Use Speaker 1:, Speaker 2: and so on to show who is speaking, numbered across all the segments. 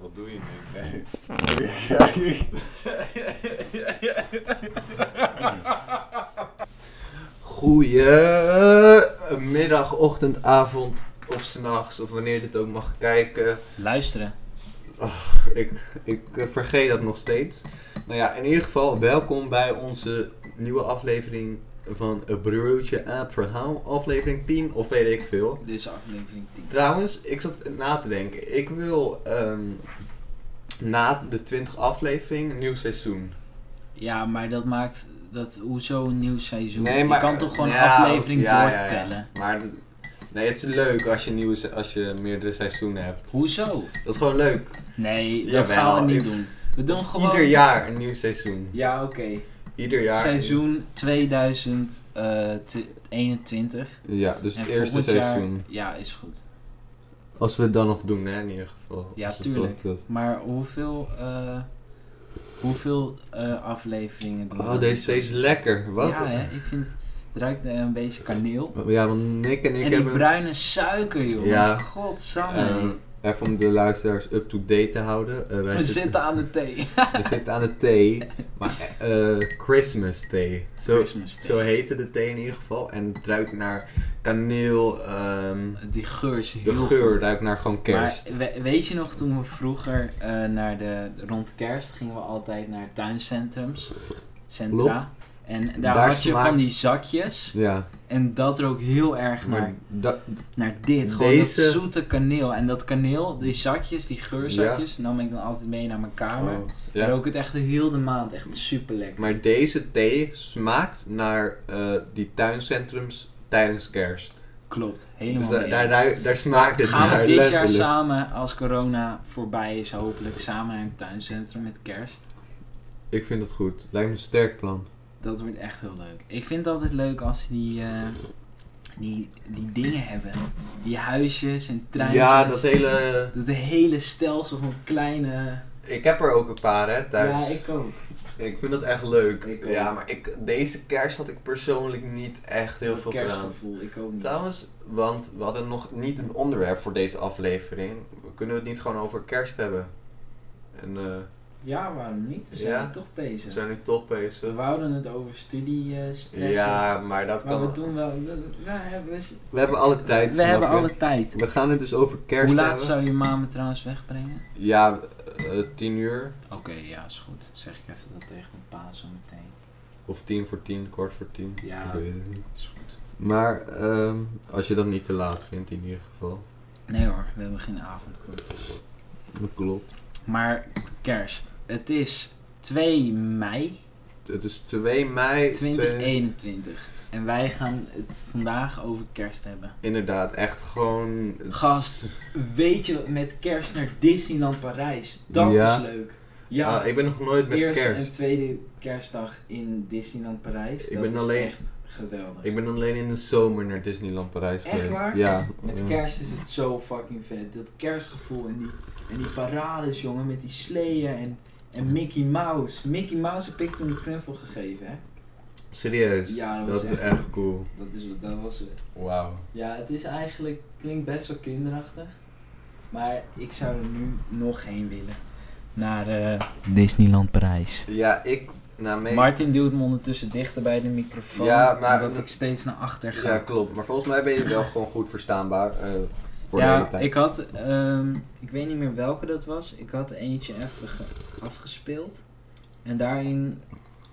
Speaker 1: Wat doe je nu? Nee. Ja, je-
Speaker 2: Goedemiddag, ochtend, avond of s'nachts, of wanneer je dit ook mag kijken.
Speaker 3: Luisteren.
Speaker 2: Ik, ik eh, vergeet dat nog steeds. Maar ja, in ieder geval, welkom bij onze nieuwe aflevering van Een Broertje Aap Verhaal. Aflevering 10, of weet ik veel.
Speaker 3: Dit is aflevering 10.
Speaker 2: Trouwens, ik zat na te denken. Ik wil ehm, na de 20 aflevering een nieuw seizoen.
Speaker 3: Ja, maar dat maakt dat hoezo een nieuw seizoen.
Speaker 2: Nee, maar-
Speaker 3: je kan toch gewoon een
Speaker 2: ja,
Speaker 3: aflevering
Speaker 2: ja, ja, ja.
Speaker 3: doortellen.
Speaker 2: Maar d- nee, het is leuk als je, nieuwe, se- als je meerdere seizoenen hebt.
Speaker 3: Hoezo?
Speaker 2: Dat is gewoon leuk.
Speaker 3: Nee, dat
Speaker 2: Jawel,
Speaker 3: gaan we niet
Speaker 2: ik-
Speaker 3: doen. We doen gewoon.
Speaker 2: Ieder jaar een nieuw seizoen.
Speaker 3: Ja, oké.
Speaker 2: Ieder jaar.
Speaker 3: Seizoen 2021.
Speaker 2: Ja, dus het
Speaker 3: En
Speaker 2: eerste
Speaker 3: volgend jaar-
Speaker 2: seizoen.
Speaker 3: Ja, is goed.
Speaker 2: Als we het dan nog doen, hè, in ieder geval.
Speaker 3: Ja,
Speaker 2: Als we
Speaker 3: tuurlijk.
Speaker 2: dat-
Speaker 3: Maar hoeveel, eh, hoeveel eh, afleveringen doen we?
Speaker 2: Oh, deze, deze is lekker. Wat?
Speaker 3: Ja, hè? ik vind het ruikt eh, een beetje kaneel.
Speaker 2: Ja, want Nick en ik
Speaker 3: en die
Speaker 2: hebben...
Speaker 3: bruine suiker, joh.
Speaker 2: Ja.
Speaker 3: Godsamme.
Speaker 2: eh, even om de luisteraars up-to-date te houden. eh, wij
Speaker 3: we zitten aan de thee.
Speaker 2: We zitten aan de thee, maar eh, Christmas thee. Zo,
Speaker 3: Christmas thee.
Speaker 2: Zo heette de thee in ieder geval. En het ruikt naar kaneel, ehm,
Speaker 3: Die geur is heel
Speaker 2: de geur
Speaker 3: goed.
Speaker 2: ruikt naar gewoon kerst.
Speaker 3: Maar we- weet je nog toen we vroeger eh, naar de rond kerst gingen we altijd naar tuincentrums, centra. En daar,
Speaker 2: Daar
Speaker 3: had je
Speaker 2: smaakt-
Speaker 3: van die zakjes.
Speaker 2: ja,
Speaker 3: En dat rook heel erg naar,
Speaker 2: maar dat,
Speaker 3: naar dit. Gewoon
Speaker 2: Deze-
Speaker 3: dat zoete kaneel. En dat kaneel, die zakjes, die geurzakjes, nam ik dan altijd mee naar mijn kamer.
Speaker 2: oh, ja.
Speaker 3: Rook het echt heel de maand. Echt super lekker.
Speaker 2: Maar deze thee smaakt naar eh, die tuincentrums tijdens kerst.
Speaker 3: Klopt,
Speaker 2: Dus
Speaker 3: helemaal
Speaker 2: daar,
Speaker 3: mee
Speaker 2: daar,
Speaker 3: eens.
Speaker 2: daar, daar smaakt het
Speaker 3: Gaan
Speaker 2: naar.
Speaker 3: we dit jaar
Speaker 2: letterlijk.
Speaker 3: samen, als corona voorbij is, hopelijk samen naar een tuincentrum met kerst.
Speaker 2: Ik vind het goed. Lijkt me een sterk plan.
Speaker 3: Dat wordt echt heel leuk. Ik vind het altijd leuk als ze die, eh, die, die dingen hebben. Die huisjes en treintjes.
Speaker 2: Ja, dat hele...
Speaker 3: Dat hele stelsel van kleine...
Speaker 2: Ik heb er ook een paar, hè, thuis.
Speaker 3: Ja, ik ook.
Speaker 2: Ik vind dat echt leuk.
Speaker 3: Ik ook.
Speaker 2: ja, maar ik, deze kerst had ik persoonlijk niet echt heel veel gedaan.
Speaker 3: kerstgevoel, ik ook niet.
Speaker 2: Trouwens, want we hadden nog niet een onderwerp voor deze aflevering. Kunnen we het niet gewoon over kerst hebben? En eh,
Speaker 3: Ja, waarom niet? We zijn
Speaker 2: Ja.
Speaker 3: toch
Speaker 2: we
Speaker 3: bezig.
Speaker 2: zijn nu toch
Speaker 3: We
Speaker 2: bezig.
Speaker 3: wouden het over studiestress
Speaker 2: Ja, maar dat
Speaker 3: Maar
Speaker 2: kan.
Speaker 3: we doen wel... We, we hebben, we
Speaker 2: We hebben alle tijd. snap
Speaker 3: hebben
Speaker 2: je?
Speaker 3: alle tijd.
Speaker 2: We gaan het dus over kerst
Speaker 3: Hoe laat
Speaker 2: hebben.
Speaker 3: zou je mama trouwens wegbrengen?
Speaker 2: Ja, eh, tien uur.
Speaker 3: Oké, ja, is goed. Zeg ik even dat tegen mijn pa zo meteen.
Speaker 2: Of tien voor tien, kwart voor tien.
Speaker 3: Ja.
Speaker 2: Ik weet het niet.
Speaker 3: Is goed.
Speaker 2: Maar ehm, als je dat niet te laat vindt in ieder geval.
Speaker 3: Nee hoor, we hebben geen avondklok.
Speaker 2: Dat klopt.
Speaker 3: Maar kerst. Het is 2 mei
Speaker 2: Het is 2 mei. 2021.
Speaker 3: 2021. En wij gaan het vandaag over kerst hebben.
Speaker 2: Inderdaad, echt gewoon. het
Speaker 3: Gast,
Speaker 2: is-
Speaker 3: Weet je, met kerst naar Disneyland Parijs. Dat
Speaker 2: Ja.
Speaker 3: is leuk. Ja,
Speaker 2: Ah, ik ben nog nooit met
Speaker 3: eerste
Speaker 2: kerst.
Speaker 3: en tweede kerstdag in Disneyland Parijs.
Speaker 2: Ik
Speaker 3: dat
Speaker 2: ben
Speaker 3: is
Speaker 2: alleen-
Speaker 3: echt geweldig.
Speaker 2: Ik ben alleen in de zomer naar Disneyland Parijs
Speaker 3: Echt
Speaker 2: geweest.
Speaker 3: waar?
Speaker 2: Ja.
Speaker 3: Met
Speaker 2: Ja.
Speaker 3: kerst is het zo fucking vet. Dat kerstgevoel en die, en die parades, jongen, met die sleeën en, en Mickey Mouse. Mickey Mouse heb ik toen de knuffel gegeven, hè?
Speaker 2: Serieus?
Speaker 3: Ja, dat was
Speaker 2: Dat is
Speaker 3: echt...
Speaker 2: echt cool.
Speaker 3: Dat, is, dat was het.
Speaker 2: Wauw.
Speaker 3: Ja, het is eigenlijk... klinkt best wel kinderachtig. Maar ik zou er nu nog heen willen. Naar eh, Disneyland Parijs.
Speaker 2: Ja, ik... Nou, mee...
Speaker 3: Martin duwt me ondertussen dichter bij de microfoon.
Speaker 2: Ja, maar-
Speaker 3: Omdat ik steeds naar achter ga.
Speaker 2: Ja, klopt. Maar volgens mij ben je wel gewoon goed verstaanbaar eh, voor de hele
Speaker 3: ja,
Speaker 2: tijd.
Speaker 3: ik had, ehm, ik weet niet meer welke dat was. Ik had eentje even ge- afgespeeld. En daarin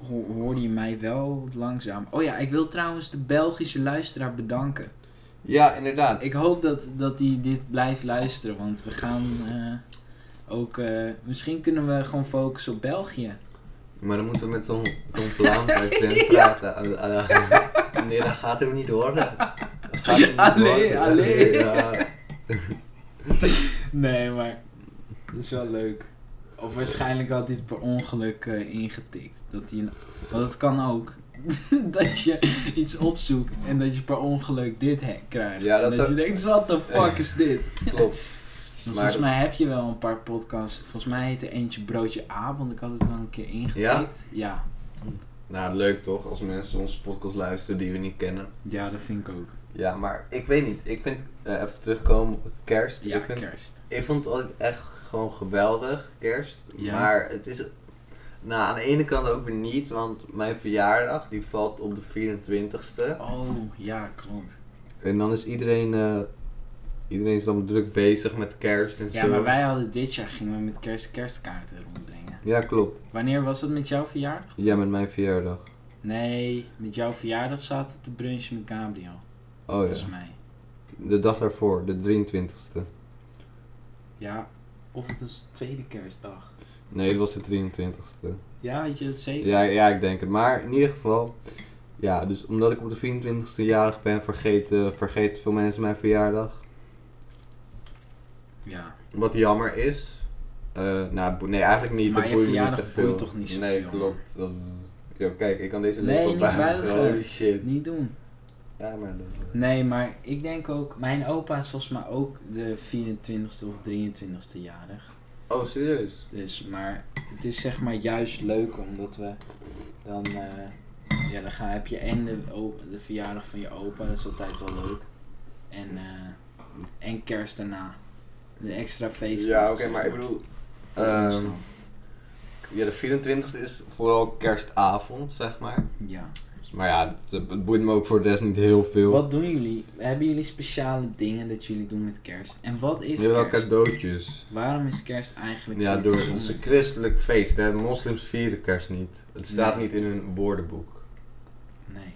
Speaker 3: ho- hoorde je mij wel langzaam. Oh ja, ik wil trouwens de Belgische luisteraar bedanken.
Speaker 2: Ja, inderdaad.
Speaker 3: Ik hoop dat hij dat die dit blijft luisteren, want we gaan eh, ook. eh, misschien kunnen we gewoon focussen op België.
Speaker 2: Maar dan moeten we met zo'n zo'n Vlaams accent praten. Ah, ah, Nee, dat gaat hem niet worden. Dat gaat hem niet
Speaker 3: Allee,
Speaker 2: worden.
Speaker 3: allee.
Speaker 2: Ja.
Speaker 3: Nee, maar. Dat is wel leuk. Of waarschijnlijk had hij het per ongeluk eh, ingetikt. Dat hij een... Want het kan ook. dat je iets opzoekt en dat je per ongeluk dit he- krijgt.
Speaker 2: Ja,
Speaker 3: En
Speaker 2: dat
Speaker 3: dat
Speaker 2: zou-
Speaker 3: je denkt, wat the fuck is dit?
Speaker 2: Klopt.
Speaker 3: Want
Speaker 2: Maar-
Speaker 3: volgens mij heb je wel een paar podcasts. Volgens mij heet er eentje Broodje A, want ik had het wel een keer ingetikt. Ja? Ja,
Speaker 2: Nou, leuk toch? Als mensen onze podcast luisteren die we niet kennen.
Speaker 3: dat vind ik ook.
Speaker 2: Ja, maar ik weet niet. Ik vind, eh, even terugkomen op het kerst.
Speaker 3: Ja,
Speaker 2: ik, vind,
Speaker 3: kerst.
Speaker 2: ik vond het altijd echt gewoon geweldig, kerst.
Speaker 3: Ja.
Speaker 2: Maar het is... Nou, aan de ene kant ook weer niet, want mijn verjaardag, die valt op de 24ste.
Speaker 3: Oh, ja, klopt.
Speaker 2: En dan is iedereen... eh, iedereen is dan druk bezig met kerst en
Speaker 3: Ja,
Speaker 2: zo.
Speaker 3: maar wij hadden dit jaar gingen we met kerst kerstkaarten rondbrengen.
Speaker 2: Ja, klopt.
Speaker 3: Wanneer was dat met jouw verjaardag?
Speaker 2: Ja, met mijn verjaardag.
Speaker 3: Nee, met jouw verjaardag zaten we te brunchen met Gabriel,
Speaker 2: Oh
Speaker 3: volgens
Speaker 2: ja.
Speaker 3: mij.
Speaker 2: De dag daarvoor, de 23ste.
Speaker 3: Ja, of het was tweede kerstdag.
Speaker 2: Nee, dat was de 23ste.
Speaker 3: Ja, weet je dat zeker?
Speaker 2: Ja, ja, ik denk het. Maar in ieder geval, ja, dus omdat ik op de 24ste jarig ben, vergeten, vergeten veel mensen mijn verjaardag.
Speaker 3: Ja.
Speaker 2: Wat jammer is. Eh, nou, bo- nee, eigenlijk niet.
Speaker 3: Maar
Speaker 2: dat
Speaker 3: je
Speaker 2: boeit me
Speaker 3: verjaardag
Speaker 2: echt
Speaker 3: boeit
Speaker 2: veel.
Speaker 3: toch niet
Speaker 2: Nee,
Speaker 3: zoveel?
Speaker 2: klopt. Dat- Yo, kijk, ik kan deze
Speaker 3: Nee,
Speaker 2: lepel
Speaker 3: niet
Speaker 2: bijna-
Speaker 3: buigen.
Speaker 2: Holy Oh, shit.
Speaker 3: Niet doen.
Speaker 2: Ja, maar dat-
Speaker 3: Nee, maar ik denk ook... Mijn opa is volgens mij ook de 24ste of 23ste jarig.
Speaker 2: Oh, serieus?
Speaker 3: Dus, maar het is zeg maar juist leuk omdat we dan... eh, ja, dan ga, heb je en de, o- de verjaardag van je opa, dat is altijd wel leuk. En, eh, en kerst daarna. De extra feesten.
Speaker 2: Ja, oké,
Speaker 3: zeg
Speaker 2: maar ik bedoel...
Speaker 3: voor ons
Speaker 2: ehm,
Speaker 3: dan.
Speaker 2: ja, de 24 e is vooral kerstavond, zeg maar.
Speaker 3: ja.
Speaker 2: Maar ja, dat, eh, het boeit me ook voor de rest niet heel veel.
Speaker 3: Wat doen jullie? Hebben jullie speciale dingen dat jullie doen met kerst? En wat is
Speaker 2: Heel wel
Speaker 3: kerst?
Speaker 2: cadeautjes.
Speaker 3: Waarom is kerst eigenlijk
Speaker 2: Ja,
Speaker 3: zo
Speaker 2: door het
Speaker 3: bijzonder?
Speaker 2: is een christelijk feest. Hè. Moslims vieren kerst niet. Het staat
Speaker 3: Nee.
Speaker 2: niet in hun woordenboek.
Speaker 3: Nee.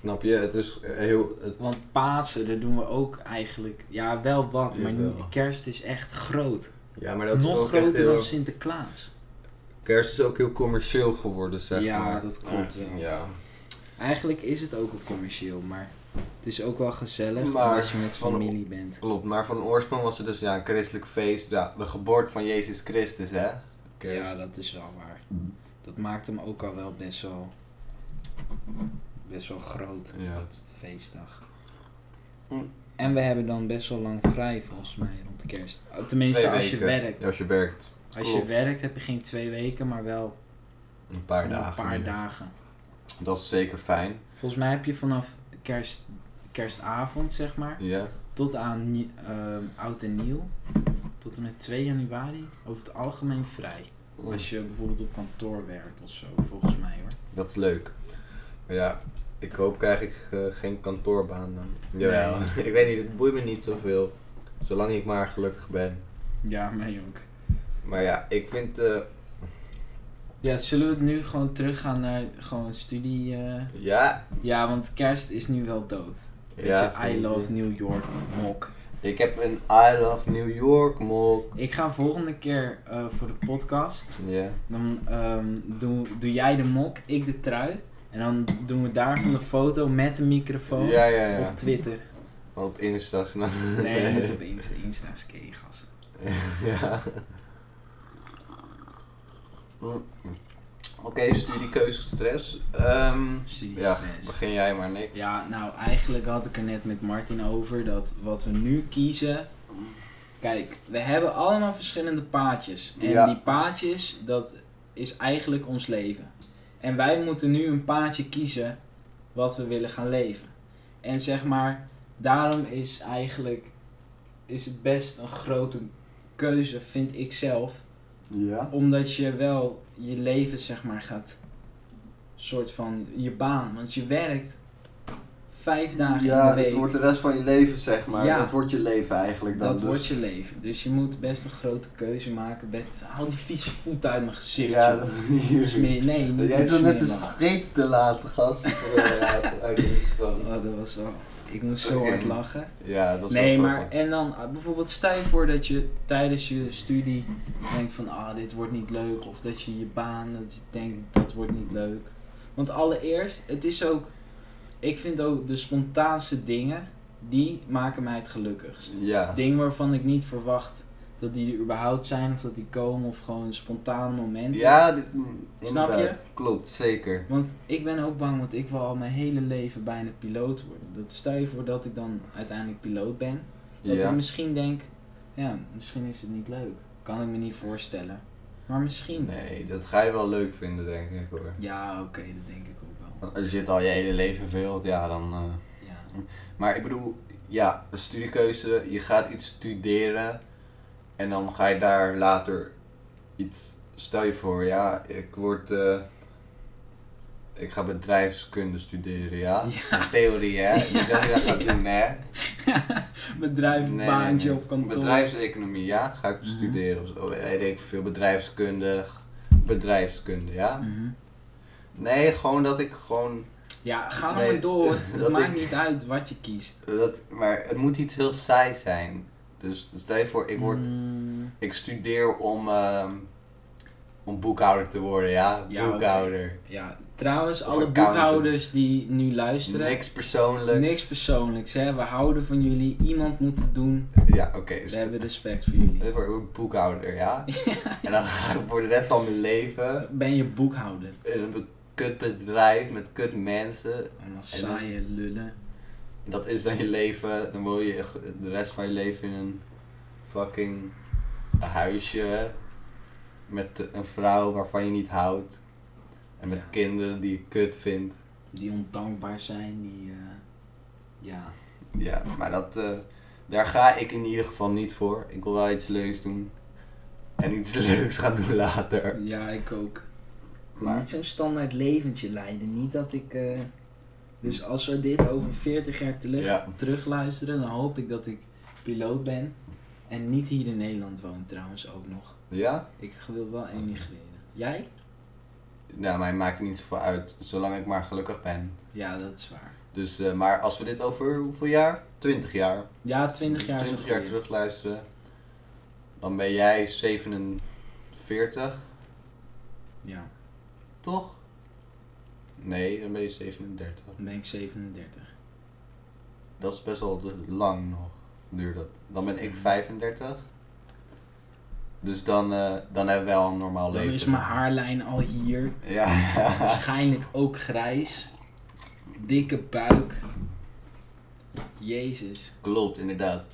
Speaker 2: Snap je? Het is eh, heel... Het,
Speaker 3: Want Pasen, daar doen we ook eigenlijk... Ja, wel wat, maar
Speaker 2: Jawel.
Speaker 3: niet- kerst is echt groot.
Speaker 2: ja, maar dat is
Speaker 3: Nog
Speaker 2: ook echt
Speaker 3: groter
Speaker 2: heel-
Speaker 3: dan Sinterklaas.
Speaker 2: Kerst is ook heel commercieel geworden, zeg
Speaker 3: ja,
Speaker 2: maar.
Speaker 3: dat klopt wel.
Speaker 2: Ja.
Speaker 3: Eigenlijk is het ook wel commercieel, maar het is ook wel gezellig
Speaker 2: Maar
Speaker 3: als je met
Speaker 2: van-
Speaker 3: familie bent.
Speaker 2: Klopt, maar van oorsprong was het dus ja, een christelijk feest. Ja, de geboorte van Jezus Christus, hè? Kerst.
Speaker 3: Ja, dat is wel waar. Dat maakt hem ook al wel best wel... Best wel groot,
Speaker 2: Ja.
Speaker 3: dat feestdag.
Speaker 2: Mm.
Speaker 3: En we hebben dan best wel lang vrij, volgens mij, rond kerst. Oh, Tenminste,
Speaker 2: Twee
Speaker 3: als je
Speaker 2: weken.
Speaker 3: werkt.
Speaker 2: Ja, als je werkt.
Speaker 3: Als je
Speaker 2: Klopt.
Speaker 3: werkt heb je geen twee weken, maar wel
Speaker 2: Een paar
Speaker 3: een
Speaker 2: dagen.
Speaker 3: paar
Speaker 2: meer.
Speaker 3: dagen.
Speaker 2: Dat is zeker fijn.
Speaker 3: Volgens mij heb je vanaf kerst, kerstavond, zeg maar,
Speaker 2: Ja.
Speaker 3: tot aan nie- ehm, oud en nieuw, tot en met 2 januari, over het algemeen vrij. Als je bijvoorbeeld op kantoor werkt of zo, volgens mij hoor.
Speaker 2: Dat is leuk. Maar ja, ik hoop krijg ik eh, geen kantoorbaan dan. Jawel. ik weet niet, het boeit me niet zoveel. Zolang ik maar gelukkig ben.
Speaker 3: Ja, mij ook.
Speaker 2: Maar ja, ik vind... eh,
Speaker 3: Ja, zullen we het nu gewoon teruggaan naar gewoon studie? eh?
Speaker 2: ja,
Speaker 3: Ja, want kerst is nu wel dood.
Speaker 2: ja.
Speaker 3: Ja, I
Speaker 2: vind
Speaker 3: love
Speaker 2: je.
Speaker 3: New York mok.
Speaker 2: Ik heb een I love New York mok.
Speaker 3: Ik ga volgende keer eh, voor de podcast
Speaker 2: Ja.
Speaker 3: Dan ehm, doe, doe jij de mok, ik de trui. En dan doen we daarvan de foto met de microfoon
Speaker 2: Ja, ja, ja.
Speaker 3: op Twitter.
Speaker 2: Op Insta snap je?
Speaker 3: Nee, niet op Insta. Insta is gay, gast.
Speaker 2: ja. Mm. Oké, studiekeuze stress. Ehm, ja,
Speaker 3: Studiestress.
Speaker 2: begin jij maar, Nick.
Speaker 3: Ja, nou eigenlijk had ik er net met Martin over dat wat we nu kiezen. Kijk, we hebben allemaal verschillende paadjes. En
Speaker 2: Ja.
Speaker 3: die paadjes, dat is eigenlijk ons leven. En wij moeten nu een paadje kiezen wat we willen gaan leven. En zeg maar, daarom is eigenlijk is het best een grote keuze, vind ik zelf
Speaker 2: Ja.
Speaker 3: omdat je wel je leven, zeg maar, gaat. soort van je baan. Want je werkt vijf dagen in de week.
Speaker 2: de rest van je leven, zeg
Speaker 3: maar. Ja. Dat
Speaker 2: wordt je leven eigenlijk
Speaker 3: dat wordt je leven. Dus je moet best een grote keuze maken. Best, haal die vieze voet uit mijn gezicht. joh. Smeer- nee, niet
Speaker 1: Jij zat net
Speaker 3: smeerbal.
Speaker 1: een scheet te laten, gast.
Speaker 2: Eh,
Speaker 3: Oh, dat was wel. Ik moest zo
Speaker 2: Oké.
Speaker 3: hard lachen.
Speaker 2: Ja, dat is
Speaker 3: Nee,
Speaker 2: wel
Speaker 3: maar
Speaker 2: grappig.
Speaker 3: en dan ah, bijvoorbeeld stel je voor dat je tijdens je studie denkt van ah, dit wordt niet leuk. Of dat je je baan, dat je denkt dat wordt niet leuk. Want allereerst, het is ook, ik vind ook de spontaanste dingen, die maken mij het gelukkigst.
Speaker 2: Ja.
Speaker 3: Dingen waarvan ik niet verwacht dat die er überhaupt zijn of dat die komen of gewoon spontane momenten.
Speaker 2: Ja, dit, mm,
Speaker 3: Snap je?
Speaker 2: inderdaad. Klopt, zeker.
Speaker 3: Want ik ben ook bang, want ik wil al mijn hele leven bijna piloot worden. Dat stel je voor dat ik dan uiteindelijk piloot ben. Dat
Speaker 2: Ja.
Speaker 3: ik misschien denk, ja, misschien is het niet leuk. Kan ik me niet voorstellen. Maar misschien.
Speaker 2: Nee, dat ga je wel leuk vinden, denk ik hoor.
Speaker 3: Ja, oké, dat denk ik ook wel.
Speaker 2: Als je het al je hele leven wilt, ja dan... eh,
Speaker 3: Ja.
Speaker 2: Maar ik bedoel, ja, een studiekeuze, je gaat iets studeren. En dan ga je daar later iets. Stel je voor, ja, ik word. eh, ik ga bedrijfskunde studeren, ja.
Speaker 3: Ja.
Speaker 2: Theorie, hè? Niet dat je dat gaat doen, hè?
Speaker 3: Bedrijfbaantje op kantoor.
Speaker 2: Bedrijfseconomie, ja. Ga ik
Speaker 3: Mhm.
Speaker 2: studeren of zo. Weet ik veel, bedrijfskunde. Bedrijfskunde, ja.
Speaker 3: Mhm.
Speaker 2: Nee, gewoon dat ik gewoon...
Speaker 3: Ja, ga nog
Speaker 2: Nee,
Speaker 3: maar door. Het
Speaker 2: dat
Speaker 3: maakt
Speaker 2: ik-
Speaker 3: niet uit wat je kiest.
Speaker 2: Dat, maar het moet iets heel saai zijn. Dus stel je voor, ik, word,
Speaker 3: Mm,
Speaker 2: ik studeer om, ehm, om boekhouder te worden, ja.
Speaker 3: Ja, oké.
Speaker 2: boekhouder.
Speaker 3: ja, trouwens,
Speaker 2: Of
Speaker 3: alle
Speaker 2: accountant.
Speaker 3: boekhouders die nu luisteren, niks,
Speaker 2: Niks persoonlijks.
Speaker 3: persoonlijks, hè? We houden van jullie. Iemand moet het doen.
Speaker 2: Ja, oké.
Speaker 3: We
Speaker 2: stel
Speaker 3: hebben respect voor jullie.
Speaker 2: je voor, ik word boekhouder, ja. En dan ga ik voor de rest van mijn leven
Speaker 3: Ben je boekhouder?
Speaker 2: in een kut bedrijf met kut mensen.
Speaker 3: Allemaal saaie lullen.
Speaker 2: Dat is dan je leven. Dan wil je echt de rest van je leven in een fucking huisje. Met een vrouw waarvan je niet houdt. En met
Speaker 3: Ja.
Speaker 2: kinderen die je kut vindt.
Speaker 3: Die ondankbaar zijn, die... eh, ja.
Speaker 2: Ja, maar dat, eh, daar ga ik in ieder geval niet voor. Ik wil wel iets leuks doen. En iets leuks gaan doen later.
Speaker 3: Ja, ik ook. Ik wil
Speaker 2: Maar-
Speaker 3: niet zo'n standaard leventje leiden. Niet dat ik... eh, Dus als we dit over 40 jaar terug,
Speaker 2: Ja.
Speaker 3: terugluisteren, dan hoop ik dat ik piloot ben. En niet hier in Nederland woon trouwens ook nog.
Speaker 2: Ja?
Speaker 3: Ik wil wel emigreren. Jij?
Speaker 2: Nou, mij maakt het niet zoveel uit. Zolang ik maar gelukkig ben.
Speaker 3: Ja, dat is waar.
Speaker 2: Dus, eh, maar als we dit over hoeveel jaar? 20 jaar.
Speaker 3: Ja, 20 jaar is een
Speaker 2: 20 jaar
Speaker 3: goeie.
Speaker 2: terugluisteren. Dan ben jij 47,
Speaker 3: Ja,
Speaker 2: toch? Nee, dan ben je 37.
Speaker 3: dan ben ik 37.
Speaker 2: Dat is best wel de- lang nog, duurt dat. Dan ben
Speaker 3: Mhm.
Speaker 2: ik 35. Dus dan, eh, dan hebben we wel een normaal
Speaker 3: Dan
Speaker 2: leven.
Speaker 3: is mijn haarlijn al hier.
Speaker 2: Ja.
Speaker 3: Waarschijnlijk ook grijs. Dikke buik. Jezus.
Speaker 2: Klopt, inderdaad.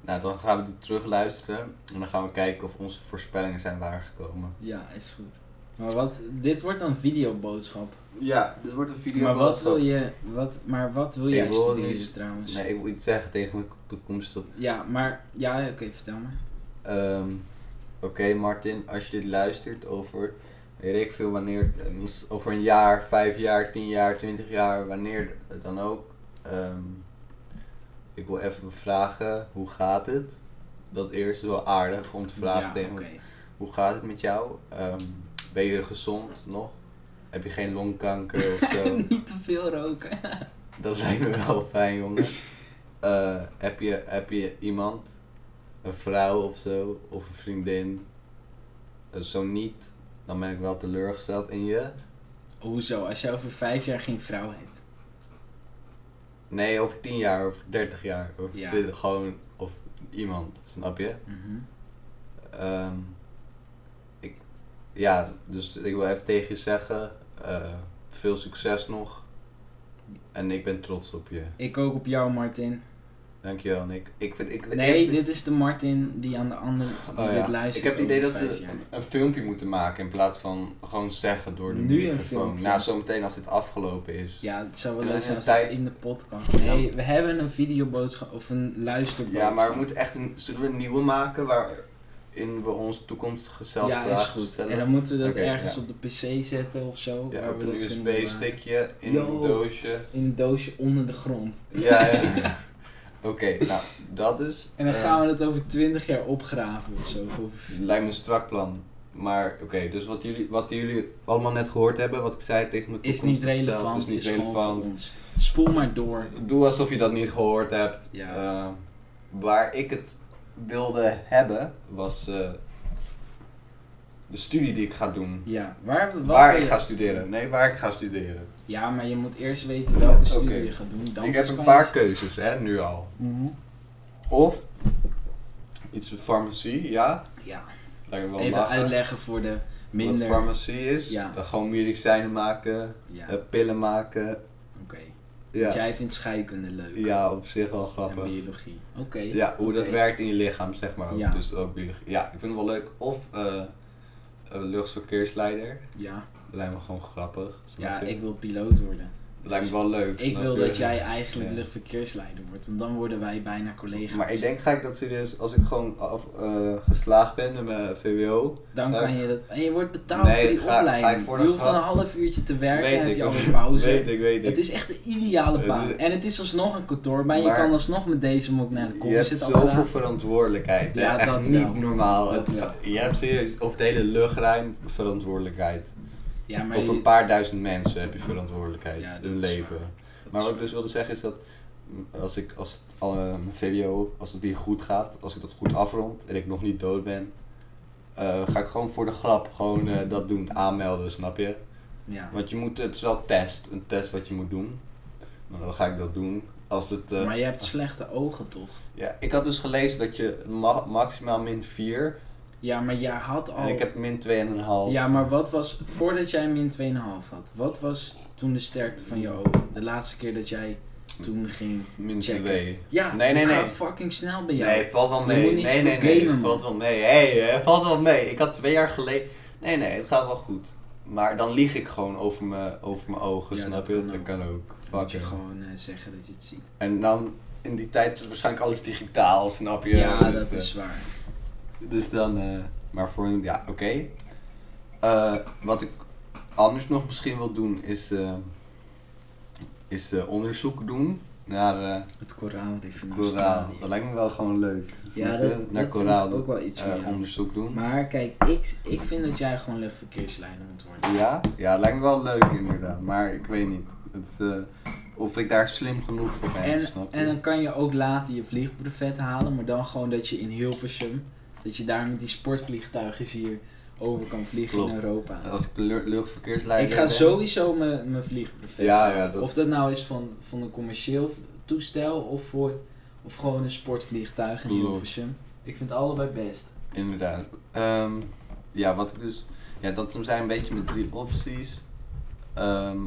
Speaker 2: Nou, dan gaan we die terugluisteren. En dan gaan we kijken of onze voorspellingen zijn waargekomen.
Speaker 3: Ja, is goed. Maar wat, dit wordt dan videoboodschap.
Speaker 2: Ja, dit wordt een video.
Speaker 3: maar wat wil je, wat, maar wat wil jij
Speaker 2: Ik wil
Speaker 3: studeren
Speaker 2: niet-
Speaker 3: trouwens?
Speaker 2: Nee, ik wil iets zeggen tegen mijn toekomstige
Speaker 3: Ja, maar, ja, oké, vertel maar.
Speaker 2: Ehm, Oké, Martin, als je dit luistert over, weet ik veel wanneer, het, eh, moest- over een jaar, vijf jaar, tien jaar, twintig jaar, wanneer dan ook. ehm, ik wil even vragen, hoe gaat het? Dat eerst is wel aardig om te vragen
Speaker 3: ja,
Speaker 2: tegen
Speaker 3: oké.
Speaker 2: me. Hoe gaat het met jou? Ehm, ben je gezond nog? Heb je geen longkanker of zo?
Speaker 3: Niet te veel roken.
Speaker 2: Dat lijkt me wel fijn, jongen. Eh, heb, je, heb je iemand, een vrouw of zo, of een vriendin? Eh, zo niet, dan ben ik wel teleurgesteld in je.
Speaker 3: Hoezo, als jij over vijf jaar geen vrouw hebt?
Speaker 2: Nee, over 10 jaar, of 30 jaar, of
Speaker 3: Ja.
Speaker 2: 20, gewoon, of iemand, snap je? Ehm, ik, ja, dus ik wil even tegen je zeggen, eh, veel succes nog. En ik ben trots op je.
Speaker 3: Ik ook op jou, Martin.
Speaker 2: Dankjewel, Nick. Ik vind, ik,
Speaker 3: Nee,
Speaker 2: ik-
Speaker 3: dit is de Martin die aan de andere die
Speaker 2: Oh, ja.
Speaker 3: dit luistert
Speaker 2: Ik heb het idee
Speaker 3: over
Speaker 2: dat we
Speaker 3: vijf jaar.
Speaker 2: een, een filmpje moeten maken in plaats van gewoon zeggen door de
Speaker 3: Nu een
Speaker 2: microfoon.
Speaker 3: filmpje.
Speaker 2: Nou, zometeen als dit afgelopen is.
Speaker 3: Ja, het zou wel
Speaker 2: Ja,
Speaker 3: leuk zijn
Speaker 2: een
Speaker 3: als het
Speaker 2: tijd-
Speaker 3: in de podcast. Nee, we hebben een videoboodschap of een luisterboodschap.
Speaker 2: Ja, maar we moeten echt een, zullen we een nieuwe maken waarin we ons toekomstige zelf
Speaker 3: Ja, is
Speaker 2: vragen
Speaker 3: goed.
Speaker 2: stellen?
Speaker 3: En dan moeten we dat
Speaker 2: Oké,
Speaker 3: ergens
Speaker 2: ja.
Speaker 3: op de PC zetten of zo.
Speaker 2: ja,
Speaker 3: waar
Speaker 2: op
Speaker 3: we
Speaker 2: een
Speaker 3: dat kunnen bewaren.
Speaker 2: USB-stickje in
Speaker 3: Yo.
Speaker 2: een doosje.
Speaker 3: In een doosje onder de grond.
Speaker 2: Ja, ja. Oké, nou, dat is.
Speaker 3: En dan gaan we dat over 20 jaar opgraven of zo. of over-
Speaker 2: Lijkt me een strak plan. Maar oké, dus wat jullie, wat jullie allemaal net gehoord hebben, wat ik zei tegen mijn
Speaker 3: Is
Speaker 2: toekomstige
Speaker 3: niet
Speaker 2: zelf,
Speaker 3: relevant, is,
Speaker 2: is niet
Speaker 3: gewoon
Speaker 2: relevant.
Speaker 3: voor ons. Spoel maar door.
Speaker 2: Doe alsof je dat niet gehoord hebt.
Speaker 3: Ja.
Speaker 2: Eh, waar ik het wilde hebben was eh, de studie die ik ga doen.
Speaker 3: Ja, waar, wat
Speaker 2: waar
Speaker 3: wil
Speaker 2: ik
Speaker 3: je-
Speaker 2: ga studeren. Nee, waar ik ga studeren.
Speaker 3: Ja, maar je moet eerst weten welke studie
Speaker 2: Oké.
Speaker 3: je gaat doen. Dan dus
Speaker 2: ik
Speaker 3: pas
Speaker 2: heb een
Speaker 3: kan
Speaker 2: paar
Speaker 3: je-
Speaker 2: keuzes, hè, nu al.
Speaker 3: Mhm.
Speaker 2: Of iets met farmacie, ja.
Speaker 3: Ja,
Speaker 2: Lijkt me wel
Speaker 3: even
Speaker 2: lachen.
Speaker 3: uitleggen voor de
Speaker 2: Wat
Speaker 3: minder.
Speaker 2: farmacie is,
Speaker 3: Ja.
Speaker 2: dan gewoon medicijnen maken,
Speaker 3: Ja,
Speaker 2: eh,
Speaker 3: oké.
Speaker 2: pillen maken.
Speaker 3: Want
Speaker 2: Ja.
Speaker 3: jij vindt scheikunde leuk.
Speaker 2: ja, op zich wel grappig.
Speaker 3: En biologie. Oké.
Speaker 2: Ja, hoe dat
Speaker 3: Oké.
Speaker 2: werkt in je lichaam, zeg maar. ook.
Speaker 3: Ja.
Speaker 2: Dus ook biologie. Ja, ik vind het wel leuk. Of eh eh, luchtverkeersleider.
Speaker 3: Ja.
Speaker 2: Dat lijkt me gewoon grappig. snap
Speaker 3: Ja,
Speaker 2: je?
Speaker 3: ik wil piloot worden.
Speaker 2: Dat lijkt me wel leuk.
Speaker 3: Ik
Speaker 2: snap
Speaker 3: wil
Speaker 2: je?
Speaker 3: dat jij eigenlijk
Speaker 2: Ja.
Speaker 3: luchtverkeersleider wordt, want dan worden wij bijna collega's.
Speaker 2: Maar ik denk ga ik dat serieus, als ik gewoon af, eh, geslaagd ben met mijn VWO,
Speaker 3: Dan
Speaker 2: Eh,
Speaker 3: kan je dat. En je wordt betaald
Speaker 2: nee,
Speaker 3: voor die
Speaker 2: ga- ga ik
Speaker 3: opleiding.
Speaker 2: voor de
Speaker 3: je hoeft dan een
Speaker 2: grap-
Speaker 3: half uurtje te werken en
Speaker 2: weet
Speaker 3: heb
Speaker 2: ik.
Speaker 3: je alweer pauze.
Speaker 2: Weet ik, weet ik.
Speaker 3: Het is echt de ideale
Speaker 2: Het
Speaker 3: baan.
Speaker 2: is-
Speaker 3: En het is alsnog een kantoor, maar, je
Speaker 2: Maar-
Speaker 3: kan alsnog met deze mok naar de
Speaker 2: je
Speaker 3: koffie
Speaker 2: hebt
Speaker 3: zitten.
Speaker 2: zoveel
Speaker 3: apparaat.
Speaker 2: verantwoordelijkheid. hè.
Speaker 3: Ja,
Speaker 2: Echt
Speaker 3: dat
Speaker 2: niet
Speaker 3: wel.
Speaker 2: normaal.
Speaker 3: Dat
Speaker 2: Het-
Speaker 3: wel.
Speaker 2: je hebt serieus over de hele luchtruim verantwoordelijkheid.
Speaker 3: Ja, maar
Speaker 2: Over
Speaker 3: je-
Speaker 2: een paar duizend mensen heb je verantwoordelijkheid
Speaker 3: Ja, dat
Speaker 2: in
Speaker 3: is
Speaker 2: leven.
Speaker 3: waar.
Speaker 2: Maar wat ik dus wilde zeggen is dat mm, als ik als al, eh, mijn VWO, als het die goed gaat, als ik dat goed afrond en ik nog niet dood ben, eh, ga ik gewoon voor de grap gewoon eh, dat doen, aanmelden, snap je?
Speaker 3: Ja.
Speaker 2: Want je moet, het is wel test, een test wat je moet doen. Maar dan ga ik dat doen. Als het, eh,
Speaker 3: Maar je hebt slechte ogen toch?
Speaker 2: ja, ik had dus gelezen dat je ma- maximaal min 4
Speaker 3: Ja, maar jij had al.
Speaker 2: en ik heb min 2,5.
Speaker 3: Oh. Ja, maar wat was. Voordat jij min 2,5 had, wat was toen de sterkte van je ogen? De laatste keer dat jij toen ging.
Speaker 2: min
Speaker 3: checken.
Speaker 2: 2.
Speaker 3: Ja,
Speaker 2: Nee, nee,
Speaker 3: het
Speaker 2: nee.
Speaker 3: gaat fucking snel bij jou.
Speaker 2: Nee, valt wel
Speaker 3: Je
Speaker 2: mee.
Speaker 3: moet niet
Speaker 2: Nee, nee,
Speaker 3: zoveel
Speaker 2: nee.
Speaker 3: gamen, man.
Speaker 2: valt wel mee. Hé, hey, valt wel mee. Ik had twee jaar geleden. Nee, nee, het gaat wel goed. Maar dan lieg ik gewoon over mijn, over mijn ogen,
Speaker 3: Ja,
Speaker 2: snap
Speaker 3: dat
Speaker 2: je?
Speaker 3: kan
Speaker 2: dat
Speaker 3: ook.
Speaker 2: kan ook.
Speaker 3: Dan moet je
Speaker 2: Fuck it.
Speaker 3: gewoon eh, zeggen dat je het ziet.
Speaker 2: En dan, in die tijd is waarschijnlijk alles digitaal, snap je?
Speaker 3: Ja,
Speaker 2: Dus,
Speaker 3: dat
Speaker 2: eh,
Speaker 3: is waar.
Speaker 2: Dus dan, eh, maar voor een, ja, oké. Eh, wat ik anders nog misschien wil doen is, eh, is eh, onderzoek doen naar eh
Speaker 3: Het koraalrif in
Speaker 2: koraal.
Speaker 3: Australië.
Speaker 2: Dat lijkt me wel gewoon leuk.
Speaker 3: Ja,
Speaker 2: Snap je?
Speaker 3: dat,
Speaker 2: naar
Speaker 3: dat vind
Speaker 2: koraal
Speaker 3: ik ook wel iets
Speaker 2: eh,
Speaker 3: van jou.
Speaker 2: onderzoek doen.
Speaker 3: Maar kijk, ik, ik vind dat jij gewoon luchtverkeersleider moet worden.
Speaker 2: Ja, ja, het lijkt me wel leuk inderdaad, maar ik weet niet. Het, eh, of ik daar slim genoeg voor ben,
Speaker 3: En,
Speaker 2: snap je?
Speaker 3: en dan kan je ook later je vliegbrevet halen, maar dan gewoon dat je in Hilversum, dat je daar met die sportvliegtuigjes hier over kan vliegen in
Speaker 2: Klopt.
Speaker 3: Europa.
Speaker 2: En Als ik de lu- luchtverkeersleider
Speaker 3: ik ga
Speaker 2: ben-
Speaker 3: sowieso mijn mijn vliegbrevet
Speaker 2: Ja,
Speaker 3: halen.
Speaker 2: ja, dat-
Speaker 3: Of dat nou is van, van een commercieel toestel of, voor, of gewoon een sportvliegtuig in
Speaker 2: Klopt.
Speaker 3: Hilversum. Ik vind allebei best.
Speaker 2: Inderdaad. Ehm, ja, wat ik dus... Ja, dat zijn een beetje mijn drie opties. Ehm,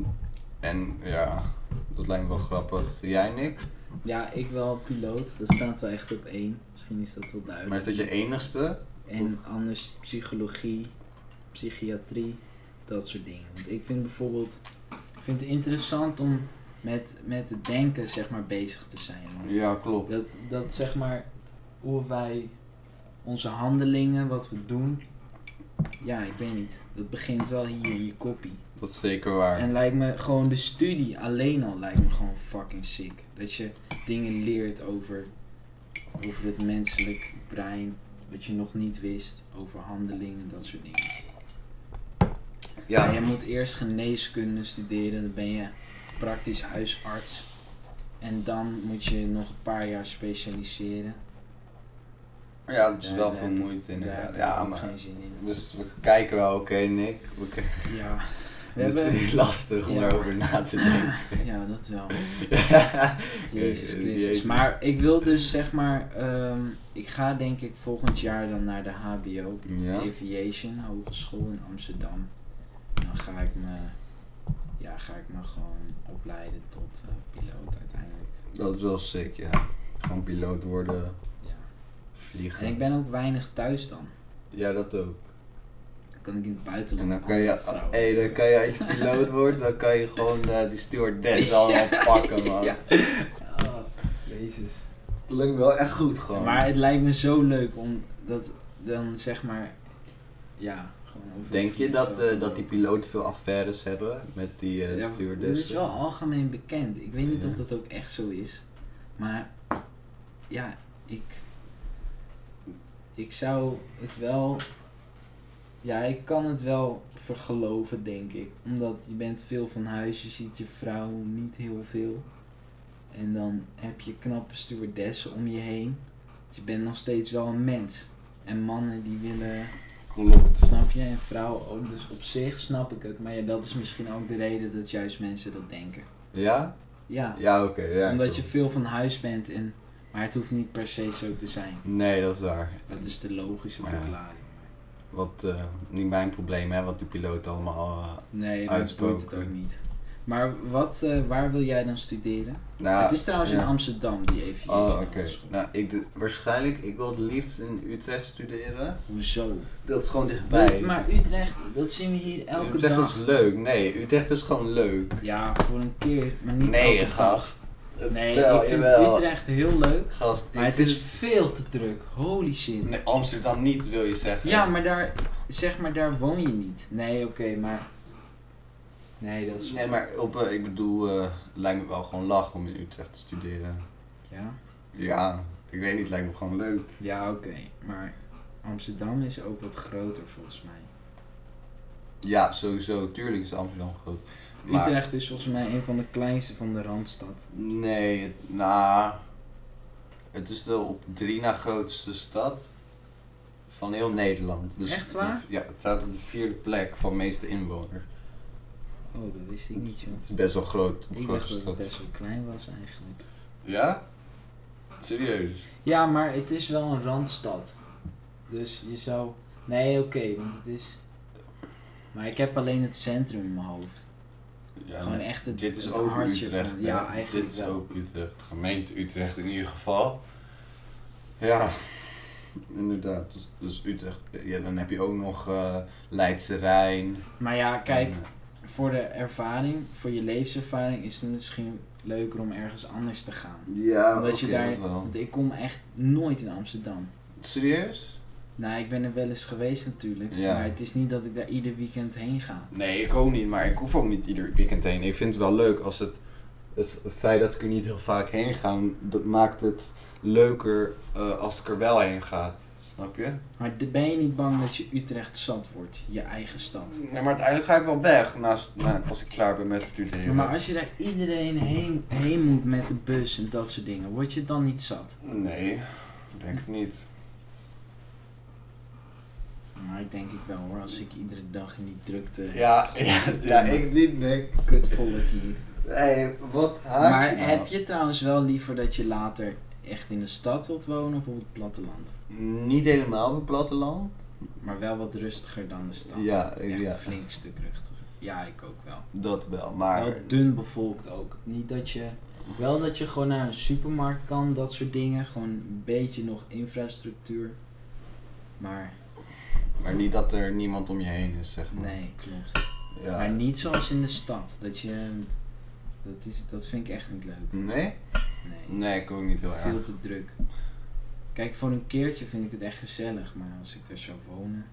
Speaker 2: en ja, dat lijkt me wel grappig. Jij, Nick?
Speaker 3: Ja, ik wel piloot. Dat staat wel echt op één. Misschien is dat wel duidelijk.
Speaker 2: Maar is dat je enigste?
Speaker 3: En anders psychologie, psychiatrie, dat soort dingen. Want ik vind bijvoorbeeld, ik vind het interessant om met, met het denken zeg maar bezig te zijn. Want
Speaker 2: Ja, klopt.
Speaker 3: dat, dat zeg maar, hoe wij onze handelingen, wat we doen, ja ik weet niet, dat begint wel hier in je koppie.
Speaker 2: Dat is zeker waar.
Speaker 3: En lijkt me gewoon de studie alleen al lijkt me gewoon fucking sick. Dat je dingen leert over, over het menselijk brein, wat je nog niet wist, over handelingen, dat soort dingen. Ja.
Speaker 2: Ja,
Speaker 3: je moet eerst geneeskunde studeren, dan ben je praktisch huisarts. En dan moet je nog een paar jaar specialiseren.
Speaker 2: ja dat is
Speaker 3: Daar-
Speaker 2: wel
Speaker 3: daar
Speaker 2: veel
Speaker 3: heb ik-
Speaker 2: moeite
Speaker 3: daar heb
Speaker 2: inderdaad.
Speaker 3: ik
Speaker 2: Ja,
Speaker 3: ook
Speaker 2: maar...
Speaker 3: geen zin in.
Speaker 2: Dus we kijken wel, oké, Nick. We k-
Speaker 3: Ja. We
Speaker 2: Het
Speaker 3: hebben,
Speaker 2: is lastig om
Speaker 3: Ja.
Speaker 2: erover na te denken.
Speaker 3: ja, dat wel. Jezus
Speaker 2: Eh, eh,
Speaker 3: Christus.
Speaker 2: jezus.
Speaker 3: Maar ik wil dus zeg maar, ehm, ik ga denk ik volgend jaar dan naar de HBO
Speaker 2: ja.
Speaker 3: Aviation Hogeschool in Amsterdam. En dan ga ik me, ja, ga ik me gewoon opleiden tot eh, piloot uiteindelijk.
Speaker 2: Dat is wel sick, ja. Gewoon piloot worden,
Speaker 3: Ja.
Speaker 2: vliegen.
Speaker 3: En ik ben ook weinig thuis dan.
Speaker 2: Ja, dat ook.
Speaker 3: Dan kan ik in het
Speaker 2: En
Speaker 3: buitenland.
Speaker 2: dan kan je,
Speaker 3: andere vrouwen
Speaker 2: hey, dan kan je als je piloot wordt, dan kan je gewoon eh, die stewardess allemaal pakken, man.
Speaker 3: Ja. Oh, Jezus.
Speaker 2: Dat lijkt me wel echt goed, gewoon.
Speaker 3: Maar het lijkt me zo leuk om dat dan zeg maar, ja, gewoon over het
Speaker 2: Denk je dat,
Speaker 3: vliegveld
Speaker 2: eh, dat die piloten veel affaires hebben met die eh
Speaker 3: Ja,
Speaker 2: stewardess?
Speaker 3: Dat is wel algemeen bekend. Ik weet niet
Speaker 2: Ja.
Speaker 3: of dat ook echt zo is. Maar ja, ik. Ik zou het wel. Ja, ik kan het wel vergeloven, denk ik. Omdat je bent veel van huis, je ziet je vrouw niet heel veel. En dan heb je knappe stewardessen om je heen. Dus je bent nog steeds wel een mens. En mannen die willen
Speaker 2: Klopt.
Speaker 3: Snap je? En vrouw ook. Dus op zich snap ik het. Maar ja, dat is misschien ook de reden dat juist mensen dat denken.
Speaker 2: Ja?
Speaker 3: Ja.
Speaker 2: Ja, oké. ja,
Speaker 3: Omdat
Speaker 2: klopt.
Speaker 3: je veel van huis bent. En, maar het hoeft niet per se zo te zijn.
Speaker 2: Nee, dat is waar.
Speaker 3: Dat is de logische
Speaker 2: Maar ja.
Speaker 3: verklaring.
Speaker 2: Wat eh, niet mijn probleem, hè, wat die piloten allemaal... eh,
Speaker 3: Nee, dat boeit het
Speaker 2: Uitspoken.
Speaker 3: ook niet. Maar wat, eh, waar wil jij dan studeren?
Speaker 2: Nou,
Speaker 3: het is trouwens in
Speaker 2: ja.
Speaker 3: Amsterdam, die E even.
Speaker 2: Oh, oké. Nou, ik doe- waarschijnlijk, ik wil het liefst in Utrecht studeren.
Speaker 3: Hoezo?
Speaker 2: Dat is gewoon
Speaker 3: Nee, maar Utrecht, dat zien we hier elke
Speaker 2: Utrecht
Speaker 3: dag.
Speaker 2: is leuk. Nee, Utrecht is gewoon leuk.
Speaker 3: Ja, voor een keer, maar niet
Speaker 2: Nee,
Speaker 3: elke dag.
Speaker 2: gast. Het-
Speaker 3: Nee,
Speaker 1: Wel,
Speaker 3: ik vind
Speaker 1: jawel.
Speaker 3: Utrecht heel leuk,
Speaker 2: Gast,
Speaker 3: maar
Speaker 2: ik-
Speaker 3: het is veel te druk. Holy shit.
Speaker 2: Nee, Amsterdam niet, wil je zeggen.
Speaker 3: Ja, maar daar, zeg maar, daar woon je niet. Nee, oké, maar... Nee, dat is...
Speaker 2: Nee, maar op, eh, ik bedoel, eh, het lijkt me wel gewoon lach om in Utrecht te studeren.
Speaker 3: Ja,
Speaker 2: Ja, ik weet niet, lijkt me gewoon leuk.
Speaker 3: ja oké, maar Amsterdam is ook wat groter volgens mij.
Speaker 2: Ja, sowieso, tuurlijk is Amsterdam groot. Maar-
Speaker 3: Utrecht is volgens mij een van de kleinste van de Randstad.
Speaker 2: Nee, het, nou, het is de op drie na grootste stad van heel Nederland. Dus
Speaker 3: Echt waar?
Speaker 2: Ja, het staat op de vierde plek van meeste inwoners.
Speaker 3: Oh, dat wist ik niet, joh.
Speaker 2: Het is best wel groot.
Speaker 3: Ik dacht
Speaker 2: grootste
Speaker 3: dat het
Speaker 2: stad.
Speaker 3: best wel klein was eigenlijk.
Speaker 2: Ja? Serieus?
Speaker 3: Ja, maar het is wel een randstad. Dus je zou... Nee, oké, want het is... Maar ik heb alleen het centrum in mijn hoofd.
Speaker 2: Ja,
Speaker 3: Gewoon
Speaker 2: nee.
Speaker 3: echt het,
Speaker 2: Eh, Dit is
Speaker 3: het
Speaker 2: ook
Speaker 3: hartje
Speaker 2: Utrecht.
Speaker 3: van...
Speaker 2: hè?
Speaker 3: Ja, eigenlijk
Speaker 2: Dit is
Speaker 3: wel.
Speaker 2: ook Utrecht. Gemeente Utrecht in ieder geval. Ja, inderdaad. Dus, dus Utrecht. Ja, dan heb je ook nog eh, Leidse Rijn.
Speaker 3: Maar ja, kijk,
Speaker 2: En, eh,
Speaker 3: voor de ervaring, voor je levenservaring is het misschien leuker om ergens anders te gaan.
Speaker 1: Ja,
Speaker 2: eh,
Speaker 3: Omdat je
Speaker 2: oké,
Speaker 3: daar-
Speaker 2: dat wel.
Speaker 3: Want ik kom echt nooit in Amsterdam.
Speaker 2: Serieus?
Speaker 3: Nou, ik ben er wel eens geweest natuurlijk,
Speaker 2: Ja.
Speaker 3: maar het is niet dat ik daar ieder weekend heen ga.
Speaker 2: Nee, ik ook niet, maar ik hoef ook niet ieder weekend heen. Ik vind het wel leuk als het. Het feit dat ik er niet heel vaak heen ga, dat maakt het leuker eh, als ik er wel heen ga. Snap je?
Speaker 3: Maar d- ben je niet bang dat je Utrecht zat wordt, je eigen stad?
Speaker 2: Nee, maar uiteindelijk ga ik wel weg naast, na- als ik klaar ben met
Speaker 3: Ja,
Speaker 2: studeren.
Speaker 3: maar als je daar iedereen heen, heen moet met de bus en dat soort dingen, word je het dan niet zat?
Speaker 2: Nee, denk ik niet.
Speaker 3: Maar Nou, ik denk ik wel hoor, als ik iedere dag in die drukte,
Speaker 2: Ja, ja,
Speaker 1: ja, ik niet, Nick.
Speaker 3: kutvolk hier.
Speaker 1: Hey, wat haat
Speaker 3: Maar
Speaker 1: je nou?
Speaker 3: heb je trouwens wel liever dat je later echt in de stad wilt wonen of op het platteland?
Speaker 2: Niet helemaal op het platteland.
Speaker 3: Maar wel wat rustiger dan de stad.
Speaker 2: Ja, ik-
Speaker 3: echt
Speaker 2: ja.
Speaker 3: een flink stuk rustiger. Ja, ik ook wel.
Speaker 2: Dat wel, maar...
Speaker 3: Wel dun bevolkt ook. Niet dat je, wel dat je gewoon naar een supermarkt kan, dat soort dingen. Gewoon een beetje nog infrastructuur. Maar
Speaker 2: Maar niet dat er niemand om je heen is, zeg maar.
Speaker 3: nee, klopt.
Speaker 2: Ja.
Speaker 3: Maar niet zoals in de stad. Dat je, dat, is, dat vind ik echt niet leuk.
Speaker 2: Nee?
Speaker 3: Nee.
Speaker 2: Nee, ik ook niet heel
Speaker 3: Veel
Speaker 2: erg.
Speaker 3: te druk. Kijk, voor een keertje vind ik het echt gezellig, maar als ik daar zou wonen.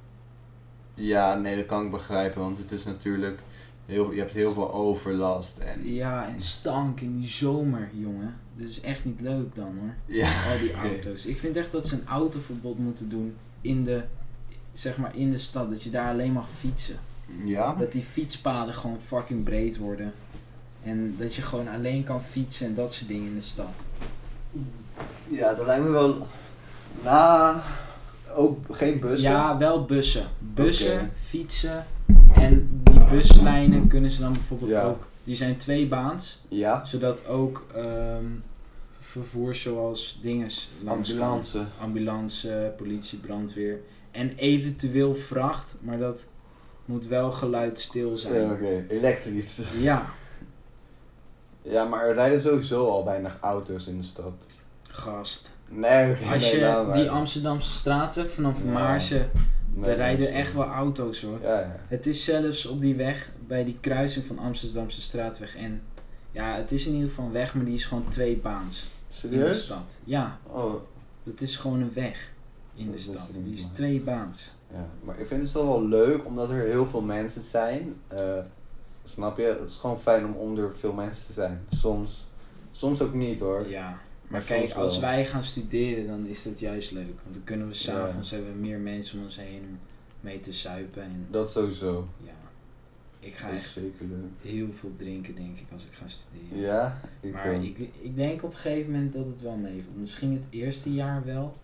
Speaker 2: Ja, nee, dat kan ik begrijpen, want het is natuurlijk... Heel, je hebt heel veel overlast en...
Speaker 3: eh, Ja, en stank in die zomer, jongen. Dit is echt niet leuk dan hoor.
Speaker 2: Ja,
Speaker 3: Al die
Speaker 2: Oké.
Speaker 3: auto's. Ik vind echt dat ze een autoverbod moeten doen in de, zeg maar in de stad. Dat je daar alleen mag fietsen.
Speaker 2: ja?
Speaker 3: Dat die fietspaden gewoon fucking breed worden. En dat je gewoon alleen kan fietsen en dat soort dingen in de stad.
Speaker 1: Ja, dat lijkt me wel... Nou, ook geen bussen.
Speaker 3: Ja, wel bussen. Bussen,
Speaker 2: Oké.
Speaker 3: fietsen. En die buslijnen kunnen ze dan bijvoorbeeld
Speaker 2: Ja.
Speaker 3: ook. Die zijn twee baans,
Speaker 2: Ja?
Speaker 3: zodat ook ehm, vervoer zoals dinges langs kan.
Speaker 2: Ambulance.
Speaker 3: Ambulance, politie, brandweer. En eventueel vracht, maar dat moet wel geluidstil zijn.
Speaker 2: Ja,
Speaker 3: Ja.
Speaker 1: Elektrisch.
Speaker 2: Ja, maar er rijden sowieso al weinig auto's in de stad.
Speaker 3: gast.
Speaker 2: Nee, oké,
Speaker 3: Als
Speaker 2: nee, laat
Speaker 3: je
Speaker 2: maar.
Speaker 3: die Amsterdamse straatweg vanaf
Speaker 2: Ja.
Speaker 3: Maarsen,
Speaker 2: Nee,
Speaker 3: daar
Speaker 2: dat
Speaker 3: rijden
Speaker 2: is-
Speaker 3: echt wel auto's hoor.
Speaker 2: Ja, ja.
Speaker 3: Het is zelfs op die weg, bij die kruising van Amsterdamse straatweg en... Ja, het is in ieder geval een weg, maar die is gewoon twee baans in de
Speaker 1: Serieus?
Speaker 3: stad. Ja,
Speaker 2: Oh,
Speaker 3: dat is gewoon een weg in
Speaker 2: Dat
Speaker 3: de
Speaker 2: is
Speaker 3: stad.
Speaker 2: niet
Speaker 3: Die is
Speaker 2: waar.
Speaker 3: twee baans.
Speaker 2: ja. Maar ik vind het toch wel leuk, omdat er heel veel mensen zijn. Eh, snap je? Het is gewoon fijn om onder veel mensen te zijn. Soms. Soms ook niet hoor.
Speaker 3: Ja, maar
Speaker 2: Maar
Speaker 3: kijk,
Speaker 2: soms wel.
Speaker 3: als wij gaan studeren, dan is dat juist leuk. Want dan kunnen we
Speaker 2: Ja.
Speaker 3: s'avonds hebben meer mensen om ons heen om mee te suipen. En
Speaker 2: Dat sowieso.
Speaker 3: ja, ik ga
Speaker 2: Dat is
Speaker 3: echt
Speaker 2: zeker leuk.
Speaker 3: heel veel drinken, denk ik, als ik ga studeren.
Speaker 2: Ja? Ik
Speaker 3: maar
Speaker 1: eh,
Speaker 2: ook.
Speaker 3: ik, ik denk op een gegeven moment dat het wel meevalt. Misschien het eerste jaar wel,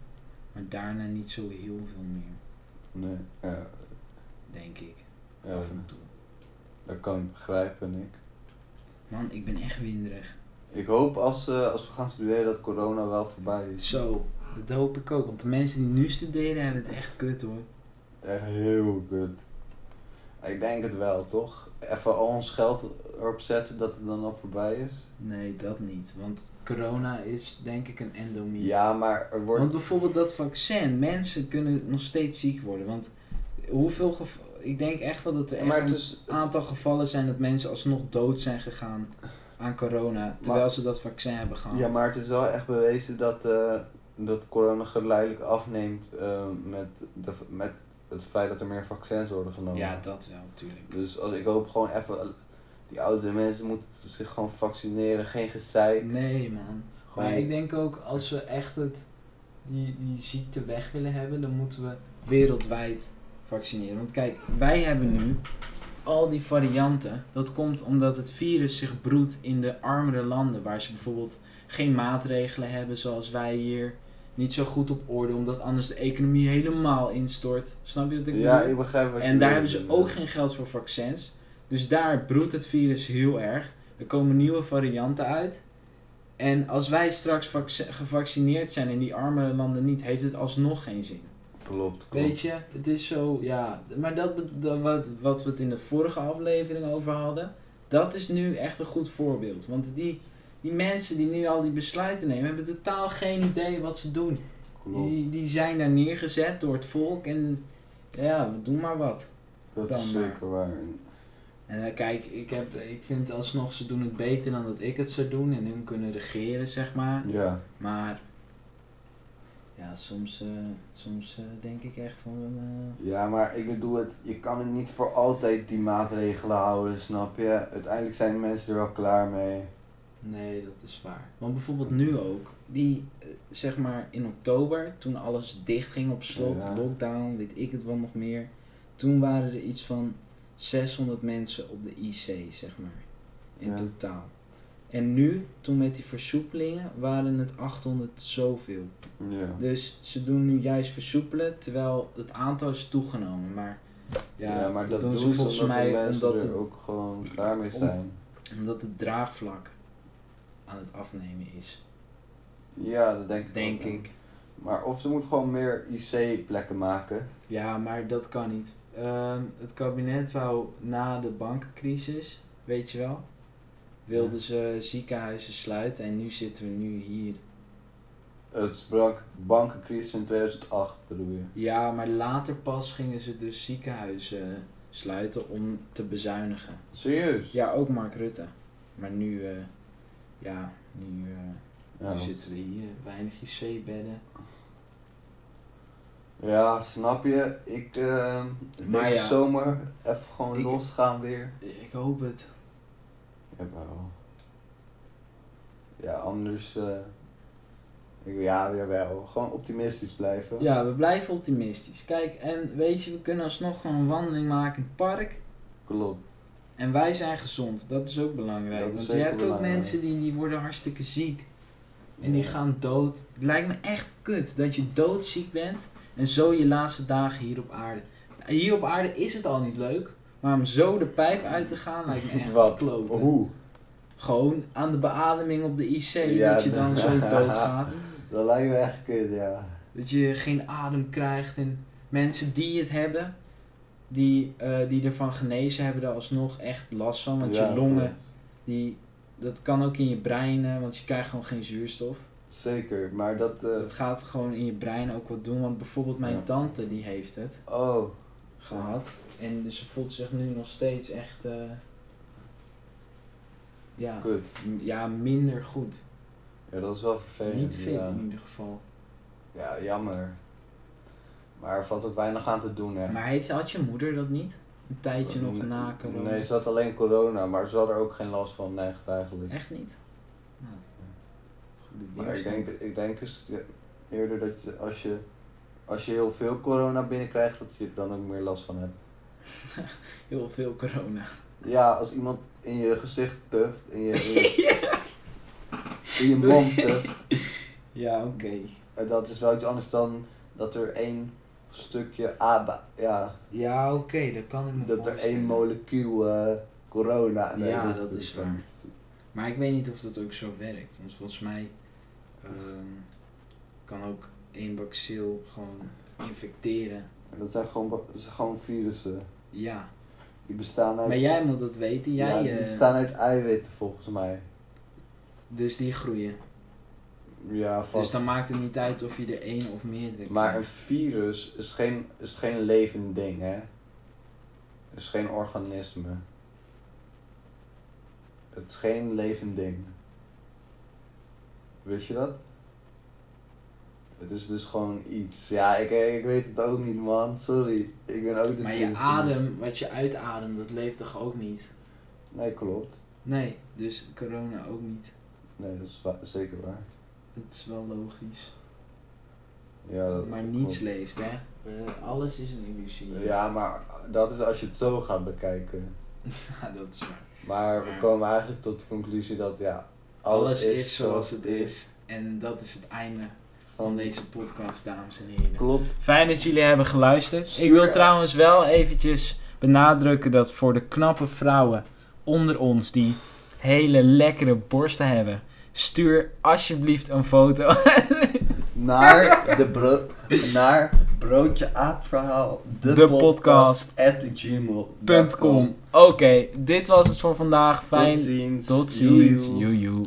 Speaker 3: maar daarna niet zo heel veel meer,
Speaker 2: Nee. Ja,
Speaker 3: denk ik.
Speaker 2: ja,
Speaker 3: Af en toe.
Speaker 2: dat kan ik begrijpen, ik.
Speaker 3: Man, ik ben echt winderig.
Speaker 2: Ik hoop als, eh, als we gaan studeren dat corona wel voorbij is.
Speaker 3: Zo, dat hoop ik ook. Want de mensen die nu studeren hebben het echt kut hoor.
Speaker 2: Echt heel kut.
Speaker 1: Ik denk het wel, toch? Even al ons geld erop zetten dat het dan al voorbij is.
Speaker 3: Nee, dat niet. Want corona is denk ik een endemie.
Speaker 1: Ja, maar er wordt...
Speaker 3: Want bijvoorbeeld dat vaccin, mensen kunnen nog steeds ziek worden. Want hoeveel gev- Ik denk echt wel dat er echt
Speaker 1: Maar het
Speaker 3: een
Speaker 1: is...
Speaker 3: aantal gevallen zijn dat mensen alsnog dood zijn gegaan aan corona. Terwijl ze dat vaccin hebben gehad.
Speaker 1: Ja, maar het is wel echt bewezen dat, eh, dat corona geleidelijk afneemt eh, met, de, met het feit dat er meer vaccins worden genomen.
Speaker 3: Ja, dat wel, natuurlijk.
Speaker 1: Dus als, ik hoop gewoon even... Die oudere mensen moeten zich gewoon vaccineren, geen gezeik.
Speaker 3: Nee, man.
Speaker 1: Gewoon,
Speaker 3: Maar ik denk ook als we echt het, die, die ziekte weg willen hebben, dan moeten we wereldwijd vaccineren. Want kijk, wij hebben nu al die varianten. Dat komt omdat het virus zich broedt in de armere landen, waar ze bijvoorbeeld geen maatregelen hebben zoals wij hier. Niet zo goed op orde, omdat anders de economie helemaal instort. Snap je wat ik
Speaker 1: ja,
Speaker 3: bedoel?
Speaker 1: ik begrijp wat je
Speaker 3: En daar hebben
Speaker 1: bedoelt,
Speaker 3: ze ook
Speaker 1: inderdaad.
Speaker 3: geen geld voor vaccins. Dus daar broedt het virus heel erg. Er komen nieuwe varianten uit. En als wij straks vac- gevaccineerd zijn en die arme landen niet, heeft het alsnog geen zin.
Speaker 1: Klopt, klopt.
Speaker 3: Weet je, het is zo, ja. Maar dat, be- dat wat, wat we het in de vorige aflevering over hadden, dat is nu echt een goed voorbeeld. Want die, die mensen die nu al die besluiten nemen, hebben totaal geen idee wat ze doen.
Speaker 1: Klopt.
Speaker 3: Die, die zijn daar neergezet door het volk en ja, we doen maar wat.
Speaker 1: Dat
Speaker 3: Dan eh,
Speaker 1: is
Speaker 3: maar.
Speaker 1: zeker waar.
Speaker 3: En eh, kijk, ik, heb, ik vind alsnog ze doen het beter dan dat ik het zou doen en hun kunnen regeren, zeg maar.
Speaker 1: Ja.
Speaker 3: Maar ja, soms, eh, soms eh, denk ik echt van. eh,
Speaker 1: Ja, maar ik bedoel, het, je kan het niet voor altijd die maatregelen houden, snap je? Uiteindelijk zijn de mensen er wel klaar mee.
Speaker 3: nee, dat is waar. Want bijvoorbeeld nu ook, die eh, zeg maar in oktober, toen alles dicht ging op slot,
Speaker 1: Ja.
Speaker 3: lockdown, weet ik het wel nog meer. Toen waren er iets van 600 mensen op de IC, zeg maar. In
Speaker 1: Ja.
Speaker 3: totaal. En nu, toen met die versoepelingen, waren het 800 zoveel.
Speaker 1: Ja.
Speaker 3: Dus ze doen nu juist versoepelen, terwijl het aantal is toegenomen. Maar ja,
Speaker 1: maar dat
Speaker 3: doen
Speaker 1: doen
Speaker 3: ze
Speaker 1: ze
Speaker 3: volgens
Speaker 1: omdat de
Speaker 3: mij
Speaker 1: mensen
Speaker 3: omdat
Speaker 1: er
Speaker 3: het-
Speaker 1: ook gewoon klaar mee
Speaker 3: om-
Speaker 1: zijn.
Speaker 3: omdat het draagvlak aan het afnemen is,
Speaker 1: Ja, dat denk ik
Speaker 3: denk
Speaker 1: ook, ja.
Speaker 3: ik.
Speaker 1: Maar of ze moeten gewoon meer IC-plekken maken.
Speaker 3: Ja, maar dat kan niet. Ehm, het kabinet wou na de bankencrisis, weet je wel, wilden ze ziekenhuizen sluiten en nu zitten we nu hier.
Speaker 1: Het sprak bankencrisis in 2008, bedoel je?
Speaker 3: Ja, maar later pas gingen ze dus ziekenhuizen sluiten om te bezuinigen.
Speaker 1: Serieus?
Speaker 3: Ja, ook Mark Rutte. Maar nu, eh, ja, nu, eh,
Speaker 1: Ja,
Speaker 3: nu zitten we hier. eh, Weinig IC-bedden.
Speaker 1: Ja, snap je? Ik, eh,
Speaker 3: Maar
Speaker 1: deze
Speaker 3: ja.
Speaker 1: zomer even gewoon
Speaker 3: Ik-
Speaker 1: losgaan weer.
Speaker 3: Ik hoop het.
Speaker 1: Jawel. Ja, anders. eh ik, ja, jawel. Gewoon optimistisch blijven.
Speaker 3: Ja, we blijven optimistisch. Kijk, en weet je, we kunnen alsnog gewoon een wandeling maken in het park.
Speaker 1: Klopt.
Speaker 3: En wij zijn gezond. Dat is ook belangrijk.
Speaker 1: Dat
Speaker 3: want
Speaker 1: is
Speaker 3: je
Speaker 1: zeker
Speaker 3: hebt ook
Speaker 1: belangrijk.
Speaker 3: mensen die, die worden hartstikke ziek. En die gaan dood. Het lijkt me echt kut dat je doodziek bent. En zo je laatste dagen hier op aarde. Hier op aarde is het al niet leuk. Maar om zo de pijp uit te gaan lijkt me echt
Speaker 1: Wat?
Speaker 3: kloten.
Speaker 1: Hoe?
Speaker 3: Gewoon aan de beademing op de IC,
Speaker 1: Ja,
Speaker 3: dat je dan
Speaker 1: dat-
Speaker 3: zo doodgaat.
Speaker 1: Dat lijkt me echt kut, ja.
Speaker 3: Dat je geen adem krijgt. En mensen die het hebben, die, eh, die ervan genezen, hebben er alsnog echt last van. Want
Speaker 1: Ja,
Speaker 3: je longen,
Speaker 1: klopt.
Speaker 3: die, dat kan ook in je brein, eh, want je krijgt gewoon geen zuurstof.
Speaker 1: Zeker, maar dat. eh,
Speaker 3: Dat gaat gewoon in je brein ook wat doen. Want bijvoorbeeld mijn
Speaker 1: Ja.
Speaker 3: tante, die heeft het
Speaker 1: oh,
Speaker 3: gehad. En dus ze voelt zich nu nog steeds echt... eh, ja,
Speaker 1: kut.
Speaker 3: m- ja, minder goed.
Speaker 1: Ja, dat is wel vervelend.
Speaker 3: Niet fit
Speaker 1: Ja,
Speaker 3: in ieder geval.
Speaker 1: ja jammer. Maar er valt ook weinig aan te doen, hè.
Speaker 3: Maar heeft, had je moeder dat niet? Een tijdje nog
Speaker 1: Nee,
Speaker 3: na corona?
Speaker 1: Nee, ze had alleen corona, maar ze had er ook geen last van, echt eigenlijk.
Speaker 3: Echt niet? Nou. Goede
Speaker 1: Maar ik
Speaker 3: weerstand.
Speaker 1: denk, ik denk eens ja, eerder dat je, als, je, als je heel veel corona binnenkrijgt, dat je er dan ook meer last van hebt.
Speaker 3: Heel veel corona.
Speaker 1: Ja, als iemand in je gezicht tuft, in je, in je, in je mond tuft,
Speaker 3: Ja, oké.
Speaker 1: eh, dat is wel iets anders dan dat er één stukje aba, ja,
Speaker 3: Ja, oké, dat kan ik me
Speaker 1: dat er één
Speaker 3: voorstellen.
Speaker 1: molecuul eh, corona in de
Speaker 3: Ja,
Speaker 1: hele
Speaker 3: dat
Speaker 1: tuft
Speaker 3: is
Speaker 1: komt.
Speaker 3: waar. Maar ik weet niet of dat ook zo werkt. Want volgens mij ehm, kan ook één bacil gewoon infecteren.
Speaker 1: En Dat zijn gewoon, ba- dat zijn gewoon virussen.
Speaker 3: Ja.
Speaker 1: Die bestaan uit...
Speaker 3: Maar jij moet dat weten.
Speaker 1: Ja,
Speaker 3: Jij,
Speaker 1: die
Speaker 3: eh,
Speaker 1: bestaan uit eiwitten volgens mij.
Speaker 3: dus die groeien.
Speaker 1: Ja, vast.
Speaker 3: Dus dan maakt het niet uit of je er één of meerdere
Speaker 1: Maar een
Speaker 3: krijgt.
Speaker 1: virus is geen, is geen levend ding, hè? Is geen organisme. Het is geen levend ding. Wist je dat? Het is dus gewoon iets. Ja, ik, ik weet het ook niet, man. Sorry. Ik ben ook de
Speaker 3: Maar je
Speaker 1: slimste.
Speaker 3: adem, wat je uitademt, dat leeft toch ook niet?
Speaker 1: Nee, klopt.
Speaker 3: Nee, dus corona ook niet.
Speaker 1: Nee, dat is wa- zeker waar.
Speaker 3: Dat is wel logisch.
Speaker 1: Ja, dat
Speaker 3: maar
Speaker 1: klopt.
Speaker 3: niets leeft, hè? Eh, alles is een illusie.
Speaker 1: Ja, maar dat is als je het zo gaat bekijken.
Speaker 3: Ja, dat is waar.
Speaker 1: Maar we komen eigenlijk tot de conclusie dat ja,
Speaker 3: Alles, is, zoals het is. En dat is het einde van deze podcast, dames en heren.
Speaker 1: Klopt.
Speaker 3: Fijn dat jullie hebben geluisterd.
Speaker 1: Stuur
Speaker 3: Ik wil
Speaker 1: uit.
Speaker 3: trouwens wel eventjes benadrukken dat voor de knappe vrouwen onder ons die hele lekkere borsten hebben, stuur alsjeblieft een foto.
Speaker 1: Naar de bro naar broodje aapverhaal de,
Speaker 3: De
Speaker 1: podcast at gmail.com.
Speaker 3: Punt com. Oké, dit was het voor vandaag. Fijn.
Speaker 1: Tot ziens.
Speaker 3: Tot ziens.
Speaker 1: Joejoe.
Speaker 3: Joejoe.